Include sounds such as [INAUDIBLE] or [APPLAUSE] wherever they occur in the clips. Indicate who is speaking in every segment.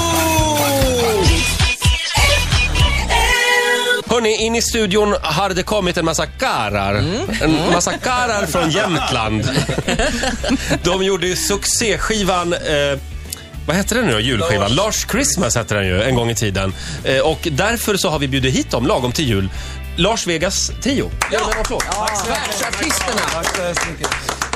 Speaker 1: Riksmorgonzoo! Hörni, in i studion har det kommit en massa karar. En massa karar från Jämtland. De gjorde ju succéskivan eh, vad hette den nu då, julskivan? Lars Christmas hette den ju en gång i tiden. Eh, och därför så har vi bjudit hit dem lagom till jul. Lars Vegas trio. Ja! En applåd.
Speaker 2: Världsartisterna.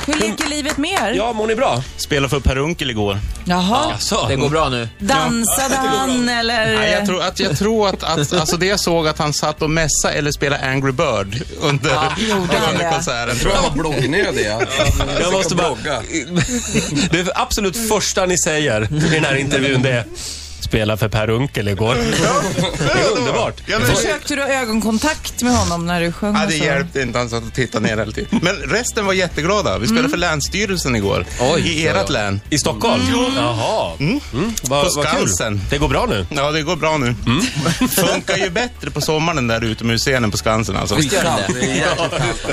Speaker 3: Hur leker livet med er?
Speaker 1: Ja, mår ni bra? Alltså.
Speaker 4: spelade för Per Unckel igår.
Speaker 3: Jaha.
Speaker 1: Jaså?
Speaker 2: Det går bra nu.
Speaker 3: Dansade han eller?
Speaker 4: Nej, jag tror att, jag tror att, att alltså det jag såg att han satt och mässa eller spelade Angry Bird under,
Speaker 3: gjorde han
Speaker 4: under
Speaker 3: det?
Speaker 4: konserten. Tror jag.
Speaker 5: Jag var bloggnödig. Jag,
Speaker 1: Jag måste bara... [LAUGHS] Det är absolut första ni säger i den här intervjun det är spela för Per Unckel igår. Det är underbart.
Speaker 4: Ja, men,
Speaker 3: Försökte du ha ögonkontakt med honom när du sjöng?
Speaker 4: ja,
Speaker 3: och
Speaker 4: det
Speaker 3: så?
Speaker 4: hjälpte inte, han satt och tittade ner hela tiden. Men resten var jätteglada. Vi spelade för Länsstyrelsen igår. I ert län.
Speaker 1: I Stockholm? Jaha. Mm. Vad,
Speaker 4: På
Speaker 1: vad kul.
Speaker 4: Skansen.
Speaker 1: Det går bra nu.
Speaker 4: Ja, det går bra nu. Funkar ju bättre på sommaren den där utomhusscenen på Skansen alltså.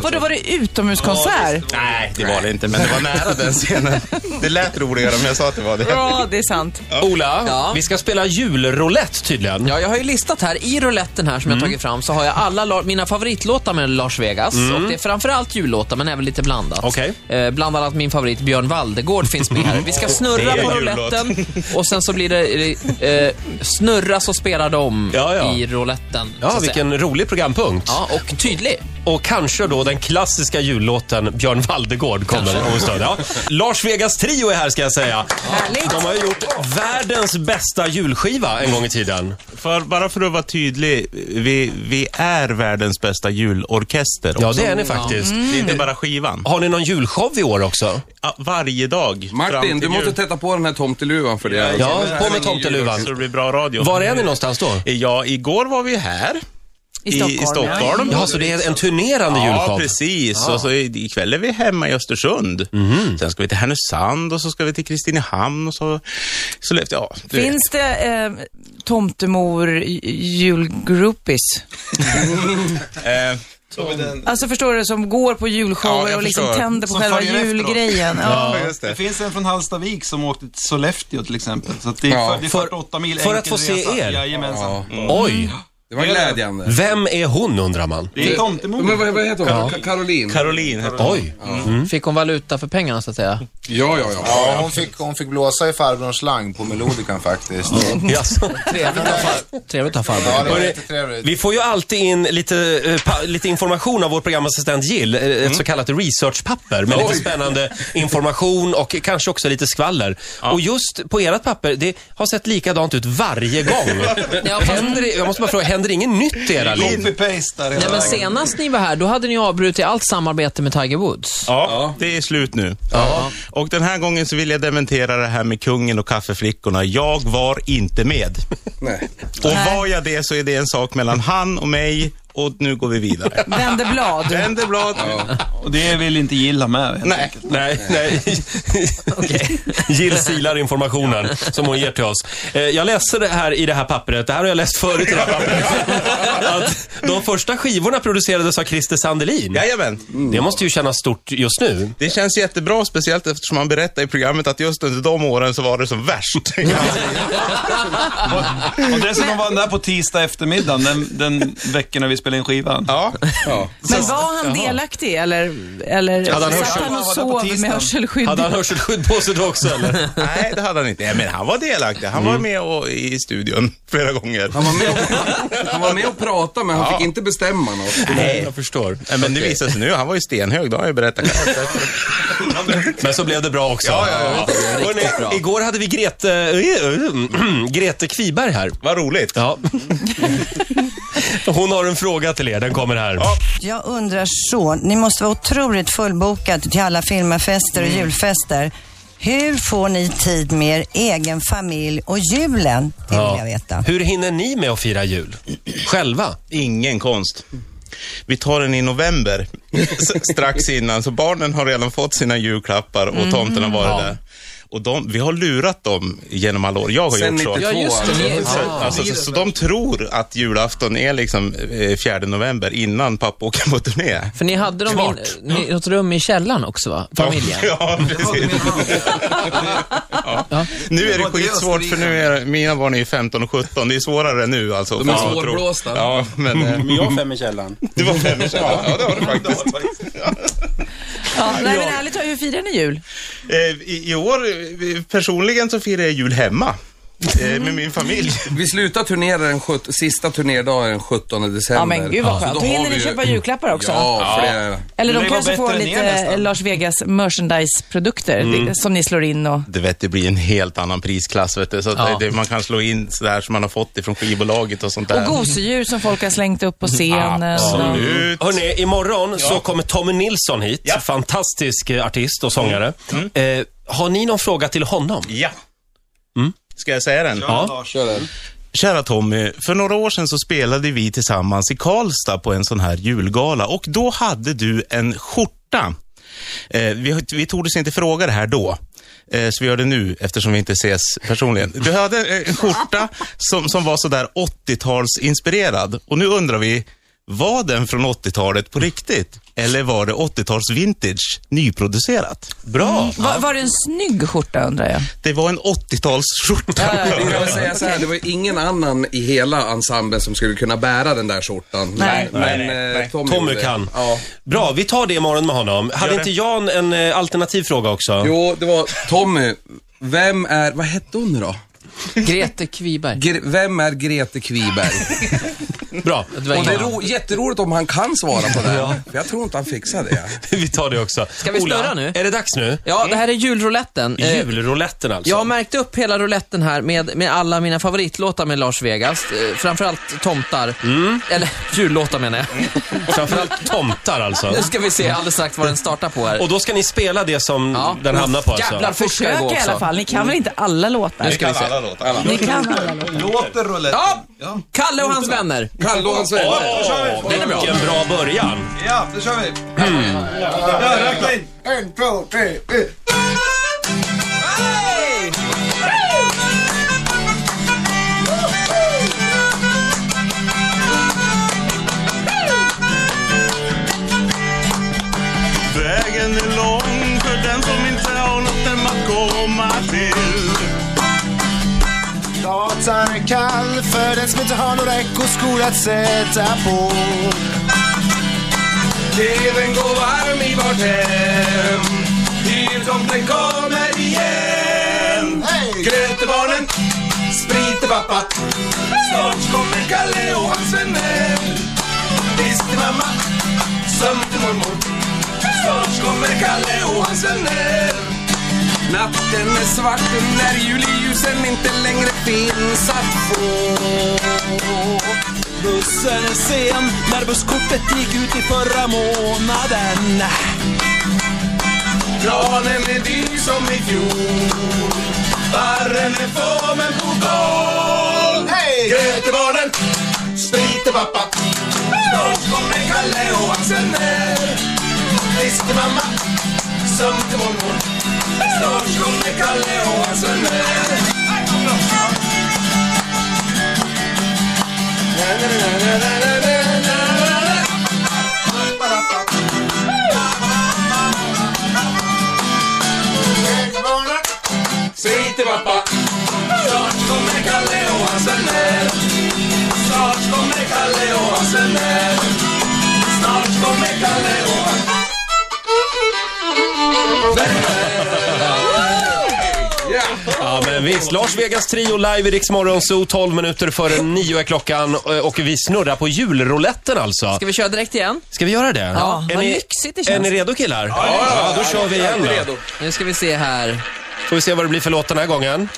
Speaker 3: Vadå, var det utomhuskonsert?
Speaker 4: Nej, det var det inte, men det var nära den scenen. Det lät roligare om jag sa att det var det.
Speaker 3: Ja, det är sant.
Speaker 1: Ola,
Speaker 2: Ja.
Speaker 1: vi ska spela julroulette tydligen.
Speaker 2: Ja, jag har ju listat här, i rouletten här som jag tagit fram så har jag alla la- mina favoritlåtar med Lars Vegas. Och det är framförallt jullåtar men även lite blandat.
Speaker 1: Okej.
Speaker 2: Eh, bland annat min favorit Björn Valdegård finns med här. Vi ska snurra
Speaker 4: Det är
Speaker 2: på
Speaker 4: en jullåt.
Speaker 2: rouletten och sen så blir det eh, snurra så spelar de
Speaker 1: Ja, ja.
Speaker 2: i rouletten. så
Speaker 1: Ja,
Speaker 2: att säga.
Speaker 1: vilken rolig programpunkt.
Speaker 2: Ja, och tydlig.
Speaker 1: Och kanske då den klassiska jullåten Björn Valdegård kommer om en stund. Ja. Lars Vegas trio är här ska jag säga.
Speaker 3: Härligt.
Speaker 1: De har ju gjort världens bästa julskiva en gång i tiden.
Speaker 4: För, bara för att vara tydlig, vi, vi är världens bästa julorkester.
Speaker 1: Ja,
Speaker 4: också.
Speaker 1: det är ni faktiskt.
Speaker 4: Det är inte bara skivan.
Speaker 1: Har ni någon julshow i år också?
Speaker 4: Ja, varje dag. fram till
Speaker 5: Martin, du måste
Speaker 4: jul.
Speaker 5: tätta på den här tomteluvan för det.
Speaker 1: Ja, på med
Speaker 5: ingen
Speaker 1: tomteluvan.
Speaker 4: Så det blir bra radio.
Speaker 1: Var är ni någonstans då?
Speaker 4: Ja, igår var vi här.
Speaker 3: I Stockholm.
Speaker 4: I Stockholm.
Speaker 1: Jaha, så det är en turnerande
Speaker 4: Ja,
Speaker 1: julshow?
Speaker 4: precis. Och så i- ikväll är vi hemma i Östersund. Sen ska vi till Härnösand och så ska vi till Kristinehamn och så Sollefteå. Ja, du vet.
Speaker 3: Finns det eh, tomtemor j- julgroupies?
Speaker 4: Eh,
Speaker 3: Alltså förstår du, som går på
Speaker 4: Ja,
Speaker 3: julshower
Speaker 4: jag
Speaker 3: och liksom
Speaker 4: förstår.
Speaker 3: tänder på
Speaker 6: Som
Speaker 3: själva
Speaker 6: följer efteråt.
Speaker 3: julgrejen. Ja.
Speaker 4: ja, just
Speaker 6: Det
Speaker 4: det.
Speaker 6: finns en från Hallstavik som åkte till Sollefteå till exempel. Så att det är,
Speaker 5: Ja,
Speaker 6: för, det är 48 mil
Speaker 1: för att
Speaker 6: enkel
Speaker 1: få se
Speaker 6: resa.
Speaker 1: er.
Speaker 6: Jajamensan.
Speaker 5: Ja,
Speaker 1: Oj!
Speaker 5: det var glädjande.
Speaker 1: Vem är hon undrar man?
Speaker 6: Det är tomtemor.
Speaker 5: Men Eh, vad, vad heter hon? Ka- Caroline?
Speaker 4: Caroline heter hon.
Speaker 1: Oj!
Speaker 2: Fick hon valuta för pengarna så att säga?
Speaker 5: Ja, ja, ja.
Speaker 7: Ja, hon fick, hon fick blåsa i farbrorns slang på melodikan faktiskt.
Speaker 1: Jaså.
Speaker 2: Trevligt att ha far- trevligt att ha
Speaker 7: Ja,
Speaker 2: farbror.
Speaker 7: det var jättetrevligt.
Speaker 1: Vi får ju alltid in lite, eh, pa- lite information av vår programassistent Jill, eh, ett så kallat researchpapper med lite spännande information och kanske också lite skvaller. Och just på ert papper, det har sett likadant ut varje gång.
Speaker 2: Ja, fast-
Speaker 1: händer, [LAUGHS] det- jag måste bara fråga, händer det inget nytt i era liv?
Speaker 6: Copy-paste där hela
Speaker 2: Nej, men
Speaker 6: vägen.
Speaker 2: senast ni var här, då hade ni avbrutit allt samarbete med Tiger Woods.
Speaker 4: Ja, det är slut nu. Och den här gången så vill jag dementera det här med kungen och kaffeflickorna. Jag var inte med.
Speaker 5: Nej.
Speaker 4: Och var jag det så är det en sak mellan han och mig och nu går vi vidare.
Speaker 3: Vänder
Speaker 4: [LAUGHS]
Speaker 3: blad.
Speaker 4: Vänder blad.
Speaker 6: Och det vill inte gilla med.
Speaker 4: Nej.
Speaker 1: Nej, nej. Jill silar informationen som hon ger till oss. Eh, Jag läser det här i det här pappret, det här har jag läst förut i det här pappret. Att de första skivorna producerades av Christer Sandelin.
Speaker 4: Jajamän.
Speaker 1: Det måste ju kännas stort just nu.
Speaker 4: Det känns jättebra, speciellt eftersom han berättade i programmet att just under de åren så var det som värst.
Speaker 6: Och dessutom var han där på tisdag eftermiddag, den, den veckan när vi spelade in skivan.
Speaker 4: ja.
Speaker 5: Ja.
Speaker 3: Men var han delaktig eller, eller
Speaker 1: Hade han
Speaker 3: satt
Speaker 1: hörsel-
Speaker 3: han och
Speaker 6: Han var där på
Speaker 3: sov med
Speaker 6: tisdagen.
Speaker 3: hörselskydd?
Speaker 1: Hade han hörselskydd på sig då också eller?
Speaker 4: Nej, det hade han inte. Nej, Men han var delaktig. Han var med och, i studion flera gånger.
Speaker 5: Han var, med och, han var med och pratade, men han fick inte bestämma något.
Speaker 1: Nej, jag förstår.
Speaker 4: Nej, men det visar sig nu. Han var ju stenhög, det har jag ju berättat.
Speaker 1: Men så blev det bra också. Ja, ja, ja. Hörrni, igår hade vi Grete, eh, Grete Kviberg här.
Speaker 4: Vad roligt.
Speaker 1: Ja. Hon har en fråga till er, den kommer här.
Speaker 8: Jag undrar så, ni måste vara otroligt fullbokade till alla filmafester och
Speaker 7: Mm.
Speaker 8: julfester. Hur får ni tid med er egen familj och julen? Det vill jag veta.
Speaker 1: Hur hinner ni med att fira jul? Själva?
Speaker 4: Ingen konst. Vi tar den i november, s- strax innan. Så barnen har redan fått sina julklappar och tomten har varit där. Och de, vi har lurat dem genom alla år. Jag har
Speaker 5: Sen
Speaker 4: gjort så.
Speaker 5: 92.
Speaker 2: Ja, just det.
Speaker 5: alltså.
Speaker 2: Ni-
Speaker 4: Så, alltså, så, så de tror att julafton är liksom eh, 4 november innan pappa åker på turné.
Speaker 2: För ni hade dem i
Speaker 1: Klart.
Speaker 2: ni-
Speaker 1: [LAUGHS]
Speaker 4: [LAUGHS]
Speaker 2: något rum i källaren också va? Familjen?
Speaker 4: Ja, precis. Ja. Nu är det
Speaker 5: var det jag
Speaker 4: skitsvårt för
Speaker 5: skrev.
Speaker 4: nu är mina barn är ju 15 och 17. Det är svårare nu alltså.
Speaker 5: De är
Speaker 4: Fan, vad
Speaker 5: svårblåsta.
Speaker 4: tråkigt. Ja, men eh,
Speaker 9: Men jag har fem i
Speaker 6: [LAUGHS]
Speaker 9: källaren.
Speaker 4: det var fem ja. ja, det var det
Speaker 5: [LAUGHS]
Speaker 4: faktiskt.
Speaker 3: Ja, nej, men ärligt talat, hur firar ni jul?
Speaker 4: Eh, I, I år, eh, personligen så firar jag jul hemma. eh,
Speaker 5: Mm.
Speaker 4: Med min familj.
Speaker 5: Vi slutar turnera den sjut- sista turnerdagen den 17 december.
Speaker 3: Ja, men gud vad skönt.
Speaker 5: Så
Speaker 3: Då
Speaker 5: har
Speaker 3: hinner
Speaker 5: vi
Speaker 3: ni
Speaker 5: ju-
Speaker 3: köpa julklappar också.
Speaker 5: Ja, för det...
Speaker 3: Eller de
Speaker 6: Det var
Speaker 3: kanske får
Speaker 6: bättre än er
Speaker 3: lite
Speaker 6: nästan.
Speaker 3: Lars Vegas merchandise-produkter det- som ni slår in och...
Speaker 4: Du vet, det blir en helt annan prisklass, vet du. Så att
Speaker 2: Ja.
Speaker 4: det, det, man kan slå in sådär som man har fått ifrån skivbolaget och sånt där.
Speaker 3: Och gosedjur som folk har slängt upp på scenen. Och-
Speaker 4: Absolut.
Speaker 1: Hörrni, imorgon så kommer Tommy Nilsson hit. Fantastisk eh, artist och sångare.
Speaker 5: Mm.
Speaker 1: Eh, har ni någon fråga till honom?
Speaker 4: Ja. Ska jag säga den?
Speaker 1: Ja.
Speaker 4: Mm. Kära Tommy, för några år sedan så spelade vi tillsammans i Karlstad på en sån här julgala och då hade du en skjorta. Eh, vi, vi tordes inte fråga det här då, eh, så vi gör det nu eftersom vi inte ses personligen. Du hade eh, en skjorta som, som var sådär 80-talsinspirerad och nu undrar vi, var den från 80-talet på riktigt? Eller var det 80-tals vintage, nyproducerat? Bra!
Speaker 3: Var, Mm. var det en snygg skjorta undrar jag?
Speaker 4: Det var en 80-talsskjorta.
Speaker 5: Jag vill säga så här, det var ju ingen annan i hela ensemblen som skulle kunna bära den där skjortan.
Speaker 3: Nej.
Speaker 5: Men, eh, Tommy,
Speaker 1: Tommy
Speaker 5: gjorde det.
Speaker 1: kan.
Speaker 5: Ja.
Speaker 1: Bra, vi tar det imorgon med honom. Hade inte Jan en eh, alternativ fråga också?
Speaker 5: Jo, det var Tommy. Vem är, vad hette hon nu då?
Speaker 2: Grete Kviberg.
Speaker 5: Gre- vem är Grete Kviberg?
Speaker 1: Bra, [LAUGHS]
Speaker 2: Det var
Speaker 5: Och det är
Speaker 2: ingen
Speaker 5: ro- jätteroligt om han kan svara på det. För jag tror inte han fixar det.
Speaker 1: vi tar det också.
Speaker 2: Ska vi
Speaker 1: Ola,
Speaker 2: snurra nu?
Speaker 1: Är det dags nu?
Speaker 2: Ja, det här är julrouletten. Eh,
Speaker 1: Julrouletten alltså.
Speaker 2: Jag har märkt upp hela rouletten här med, med alla mina favoritlåtar med Lars Vegas. Eh, framförallt tomtar.
Speaker 1: Mm.
Speaker 2: Eller jullåtar
Speaker 1: [LAUGHS]
Speaker 2: menar jag.
Speaker 1: Framförallt tomtar alltså.
Speaker 2: Nu ska vi se alldeles strax vad den startar på här.
Speaker 1: Och då ska ni spela det som
Speaker 2: Ja.
Speaker 1: den hamnar på alltså.
Speaker 2: Jävlar, fort ska det
Speaker 3: Försök
Speaker 2: gå
Speaker 3: i alla
Speaker 2: också.
Speaker 3: fall. Ni kan väl inte alla låtar?
Speaker 2: Nu ska vi se.
Speaker 3: Ni kan alla låtar.
Speaker 6: Låter rouletten?
Speaker 2: Ja! Kalle och hans vänner.
Speaker 5: Kalle och hans
Speaker 1: Åh,
Speaker 5: vänner.
Speaker 1: vilken bra början.
Speaker 6: Ja, då kör vi. Ja, räkna in.
Speaker 7: [LAUGHS] En, två, tre, ett.
Speaker 4: Vägen är lång för den som inte har något hem att komma till.
Speaker 7: Gatan är kall för den som inte har några ekoskor att sätta på.
Speaker 5: Tvn går varm i vårt hem. Jultomten kommer igen.
Speaker 7: Hej!
Speaker 5: Grötebarnen, spriter pappa. Snart kommer Kalle och hans vänner. Disk till mamma, sömn till mormor. Snart kommer Kalle och hans vänner. Natten är svart när juleljusen inte längre finns att få.
Speaker 10: Bussen är sen när busskortet gick ut i förra månaden.
Speaker 5: Granen är dyr som i fjol Barren är få men på gång hey! Göteborgen spriter pappa Snart kommer Kalle och hans vänner Disk till mamma, sömn till mormor Snart kommer Kalle och hans vänner Säg till pappa Snart kommer Kalle och hans vänner Snart kommer Kalle och hans vänner Snart kommer Kalle och hans
Speaker 1: Ja, men visst. Lars Vegas Trio live i Rix Morgon Zoo, 12 minuter före 9 är klockan. eh, Och vi snurrar på julrouletten alltså.
Speaker 2: Ska vi köra direkt igen?
Speaker 1: Ska vi göra det?
Speaker 2: Ja,
Speaker 1: är
Speaker 2: vad
Speaker 1: ni,
Speaker 2: lyxigt det
Speaker 1: Är
Speaker 2: känns.
Speaker 1: ni redo killar? Ja, då kör vi igen då.
Speaker 2: Nu ska vi se här.
Speaker 1: Får vi se vad det blir för låt den här gången.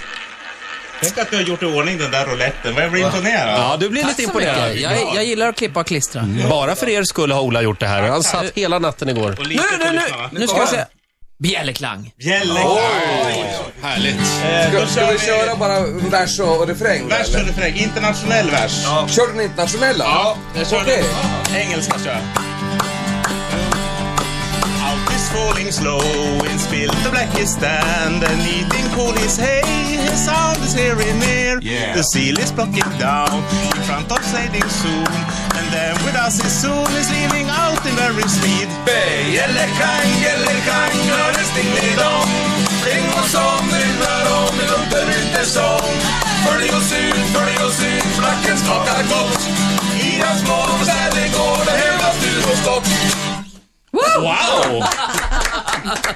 Speaker 4: Tänk att du har gjort i ordning den där rouletten. Vad jag blir imponerad.
Speaker 1: Ja, du blir
Speaker 2: Tack
Speaker 1: lite
Speaker 2: så mycket.
Speaker 1: imponerad.
Speaker 2: Jag, jag gillar att klippa och klistra.
Speaker 1: Bara för er skull har Ola gjort det här. Han satt hela natten igår.
Speaker 4: Och
Speaker 2: Nu,
Speaker 4: lite
Speaker 2: nu,
Speaker 4: till
Speaker 2: nu!
Speaker 4: lyssnarna.
Speaker 2: Nu ska vi se. Bjällerklang.
Speaker 1: Härligt.
Speaker 4: Eh, då
Speaker 5: Ska
Speaker 4: kör
Speaker 5: vi köra bara vers och och refräng? då,
Speaker 4: vers
Speaker 5: eller?
Speaker 4: och refräng. Internationell vers. Ja,
Speaker 5: Kör den internationella?
Speaker 4: jag kör
Speaker 5: Okej.
Speaker 4: den. Engelska kör jag. Out is falling slow in spill the blackest sand and eating cool his hay. His sound is here and near.
Speaker 5: Yeah.
Speaker 4: The seal is blocking down in front of sailing soon. And then with us is soon is leaving out in very speed.
Speaker 5: Bjällerklang, bjällerklang, hör en stingelidong. Ring oss om, nu rör om i luften en sång. Följ oss ut, följ oss ut, flacken skakar gott. I den små städer går det höga styrskott.
Speaker 1: Wow!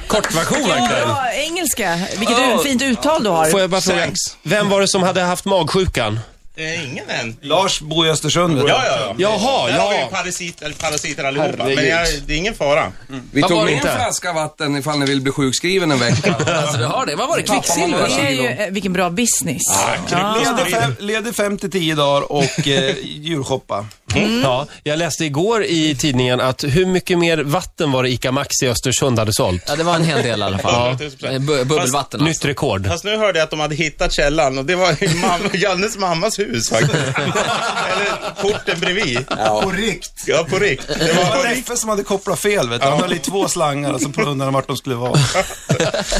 Speaker 1: Kortversion verkligen.
Speaker 3: Ja, engelska. Vilket u- fint uttal du har.
Speaker 1: Får jag bara fråga,
Speaker 4: Thanks.
Speaker 1: vem var det som hade haft magsjukan?
Speaker 4: Eh, ingen än.
Speaker 6: Lars bor i Östersund. vet du.
Speaker 4: Ja, ja, ja.
Speaker 1: Jaha,
Speaker 4: Där har vi
Speaker 1: ja.
Speaker 4: ju parasit, eller parasiter allihopa.
Speaker 1: Herregud.
Speaker 4: Men jag, det är ingen fara.
Speaker 5: Vi
Speaker 2: Vad var
Speaker 5: tog
Speaker 2: det
Speaker 5: in en
Speaker 2: inte?
Speaker 5: flaska vatten ifall ni vill bli sjukskriven en vecka.
Speaker 2: Alltså, du har det. Vad var det?
Speaker 5: Tappar
Speaker 2: Kvicksilver?
Speaker 5: man
Speaker 3: Det är ju, eh, vilken bra business.
Speaker 6: Leder fem, leder fem till tio dagar och eh, julshoppa.
Speaker 1: ja. Jag läste igår i tidningen att hur mycket mer vatten var det ICA Maxi i Östersund hade sålt?
Speaker 2: Ja, det var en hel del i alla fall. Ja. Eh, bu- Bubbelvatten
Speaker 1: Nytt
Speaker 2: alltså.
Speaker 1: rekord.
Speaker 4: Fast nu hörde jag att de hade hittat källan och det var
Speaker 1: [LAUGHS]
Speaker 4: i mamma, Jannes mammas hus faktiskt. Eller porten bredvid.
Speaker 7: På rikt.
Speaker 4: Ja, på rikt. Det
Speaker 6: Det var
Speaker 4: var
Speaker 6: Leffe som hade kopplat fel vet du. Han höll i två slangar och så undrade han vart de skulle vara.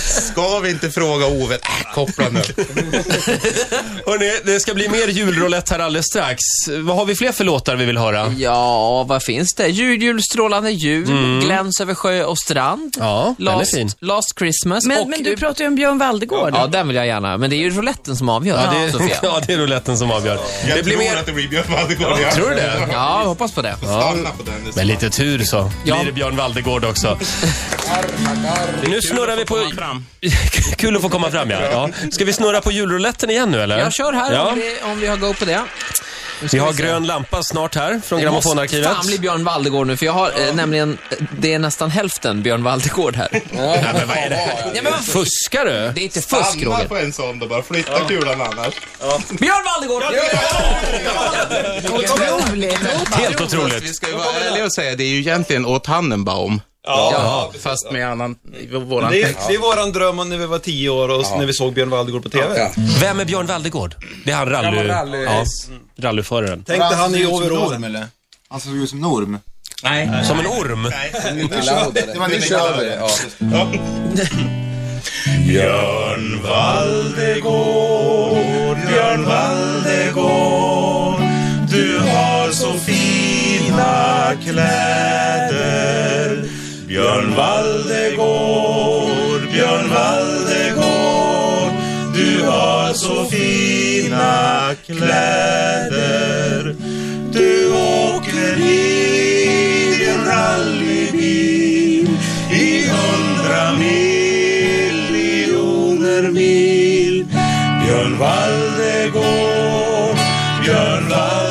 Speaker 4: Ska vi inte fråga Ove? Äh, koppla nu.
Speaker 1: [LAUGHS] Hörrni, det ska bli mer julroulette här alldeles strax. Vad har vi fler för låtar vi vill höra?
Speaker 2: Ja, vad finns det? Jul, jul, strålande jul, gläns över sjö och strand,
Speaker 1: Ja, den är
Speaker 2: last,
Speaker 1: fin.
Speaker 2: last Christmas
Speaker 3: Men,
Speaker 2: och...
Speaker 3: men du pratar ju om Björn Waldegård.
Speaker 2: Ja, den vill jag gärna. Men det är ju rouletten som avgör,
Speaker 1: Ja, det,
Speaker 2: Sofia.
Speaker 1: [LAUGHS] ja, det är rouletten som avgör.
Speaker 4: Jag
Speaker 1: Det blir
Speaker 4: tror
Speaker 1: mer...
Speaker 4: att det blir Björn Waldegård. Jag
Speaker 1: Tror du det?
Speaker 2: Ja, jag hoppas på det.
Speaker 4: stannar på den.
Speaker 1: Med lite tur så
Speaker 2: Ja.
Speaker 1: blir det Björn Waldegård också. nu snurrar vi på... [LAUGHS] Kul att få komma fram, ja. ja. Ska vi snurra på julrouletten igen nu, eller?
Speaker 2: Jag kör här
Speaker 1: Ja.
Speaker 2: om, vi, om vi har go på det. Nu ska
Speaker 1: Vi har
Speaker 2: se.
Speaker 1: grön lampa snart här från
Speaker 2: Det måste
Speaker 1: Grammofonarkivet.
Speaker 2: Fan bli Björn Waldegård nu, för jag har eh, nämligen, det är nästan hälften Björn Waldegård här.
Speaker 1: Nej, men vad är det här?
Speaker 2: Ja, men vad fusk?
Speaker 1: Fuskar du?
Speaker 2: Det är inte fusk,
Speaker 4: Stanna
Speaker 2: Roger.
Speaker 4: på en sån då bara. Flytta kulan annars.
Speaker 2: Björn Waldegård!
Speaker 3: Otroligt.
Speaker 1: Helt otroligt.
Speaker 4: Vi ska ju vara ärliga och säga, det är ju egentligen åt Tannenbaum. Ja, fast med annan,
Speaker 1: Mm.
Speaker 4: våran
Speaker 6: Det är, det är våran dröm om när vi var tio år och s- när vi såg Björn Waldegård på TV.
Speaker 1: Vem är Björn Waldegård? Det är han rally...
Speaker 5: Gammal rally-
Speaker 1: Ja, rallyföraren.
Speaker 6: Tänk dig han i overall.
Speaker 7: eller? Han såg ut som Norm.
Speaker 1: Som en orm.
Speaker 7: Det var nu kör vi. Ja.
Speaker 4: Björn Waldegård, Björn Waldegård, du har så fina kläder. Björn Waldegård, Björn Waldegård, du har så fina kläder. Du åker i din rallybil i hundra miljoner mil. Björn Waldegård, Björn Waldegård.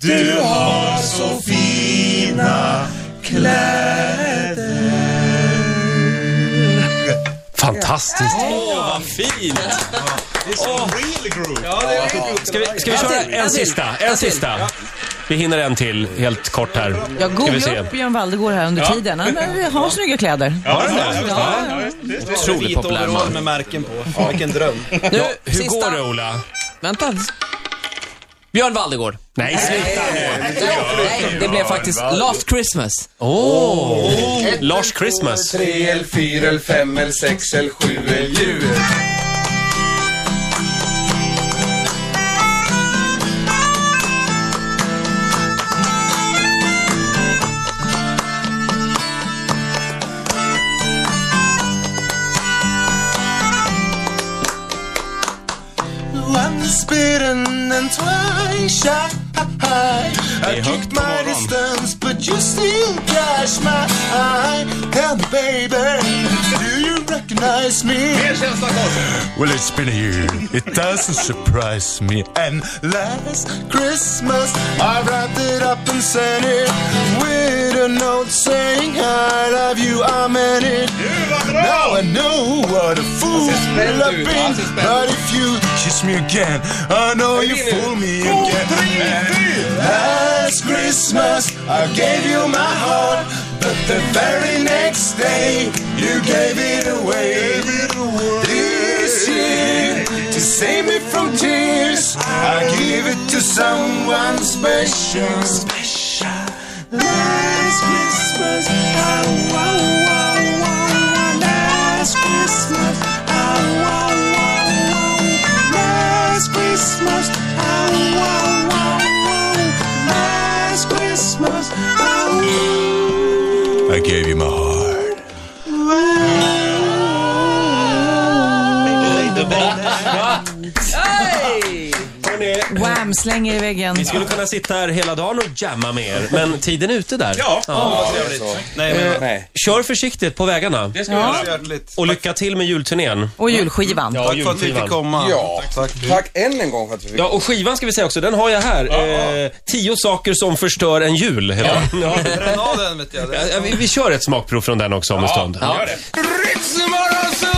Speaker 4: Du har så fina kläder.
Speaker 1: Fantastiskt. Åh, vad fint!
Speaker 4: Real group.
Speaker 1: Ska vi, ska vi köra en sista? En sista. Vi hinner en till helt kort här.
Speaker 3: Jag
Speaker 1: Ska vi se.
Speaker 3: googlade upp Björn Waldegård här under tiden. Han eh, har snygga kläder.
Speaker 1: Har den det?
Speaker 2: Otroligt
Speaker 6: Vit
Speaker 2: populär
Speaker 6: overall
Speaker 2: man.
Speaker 6: med märken på. Vilken dröm.
Speaker 2: Nu,
Speaker 1: Hur går
Speaker 2: sista.
Speaker 1: det, Ola?
Speaker 2: Vänta. Björn Waldegård.
Speaker 1: Nej, sluta nu!
Speaker 2: Nej, det blev faktiskt Last Christmas.
Speaker 1: Åh! Lars Christmas.
Speaker 5: Tre eller fyra eller fem eller sex eller sju eller jul.
Speaker 7: Once bitten and twice shy. I kicked my distance, but you still catch my eye. Tell me, baby, do you recognize me? Well, it's been a year. It doesn't surprise me. And last Christmas, I wrapped it up and sent it with a note saying, I love you, I meant it. Now I know what a fool I've been. But if you kiss me again, I know you fool me again. And last Christmas, I gave you my heart. But the very next day, you gave it away. This year, to save me from tears, I give it to someone special. Special. Last Christmas, oh, oh, oh, oh, oh, last Christmas, oh, oh, oh, oh, last Christmas, oh, oh, oh, oh, last Christmas, oh, I gave you my heart.
Speaker 3: fem, släng er i väggen.
Speaker 1: Vi skulle kunna sitta här hela dagen och jamma med er, men tiden är ute där.
Speaker 6: Ja, vad trevligt. Nej, men
Speaker 4: Nej.
Speaker 1: Kör försiktigt på vägarna
Speaker 6: det ska vi göra. Hjärtligt.
Speaker 1: och lycka till med julturnén.
Speaker 3: Och julskivan.
Speaker 1: Ja,
Speaker 6: Tack för att vi fick komma.
Speaker 5: Ja, tack, tack än en gång för att vi fick
Speaker 1: Ja, och skivan ska vi säga också, den har jag här. Eh, tio saker som förstör en jul. heter den. Ja.
Speaker 6: Bränn av den vet jag.
Speaker 1: Ja, vi, vi kör ett smakprov från den också om en stund.
Speaker 5: Ritzmorgonzoo!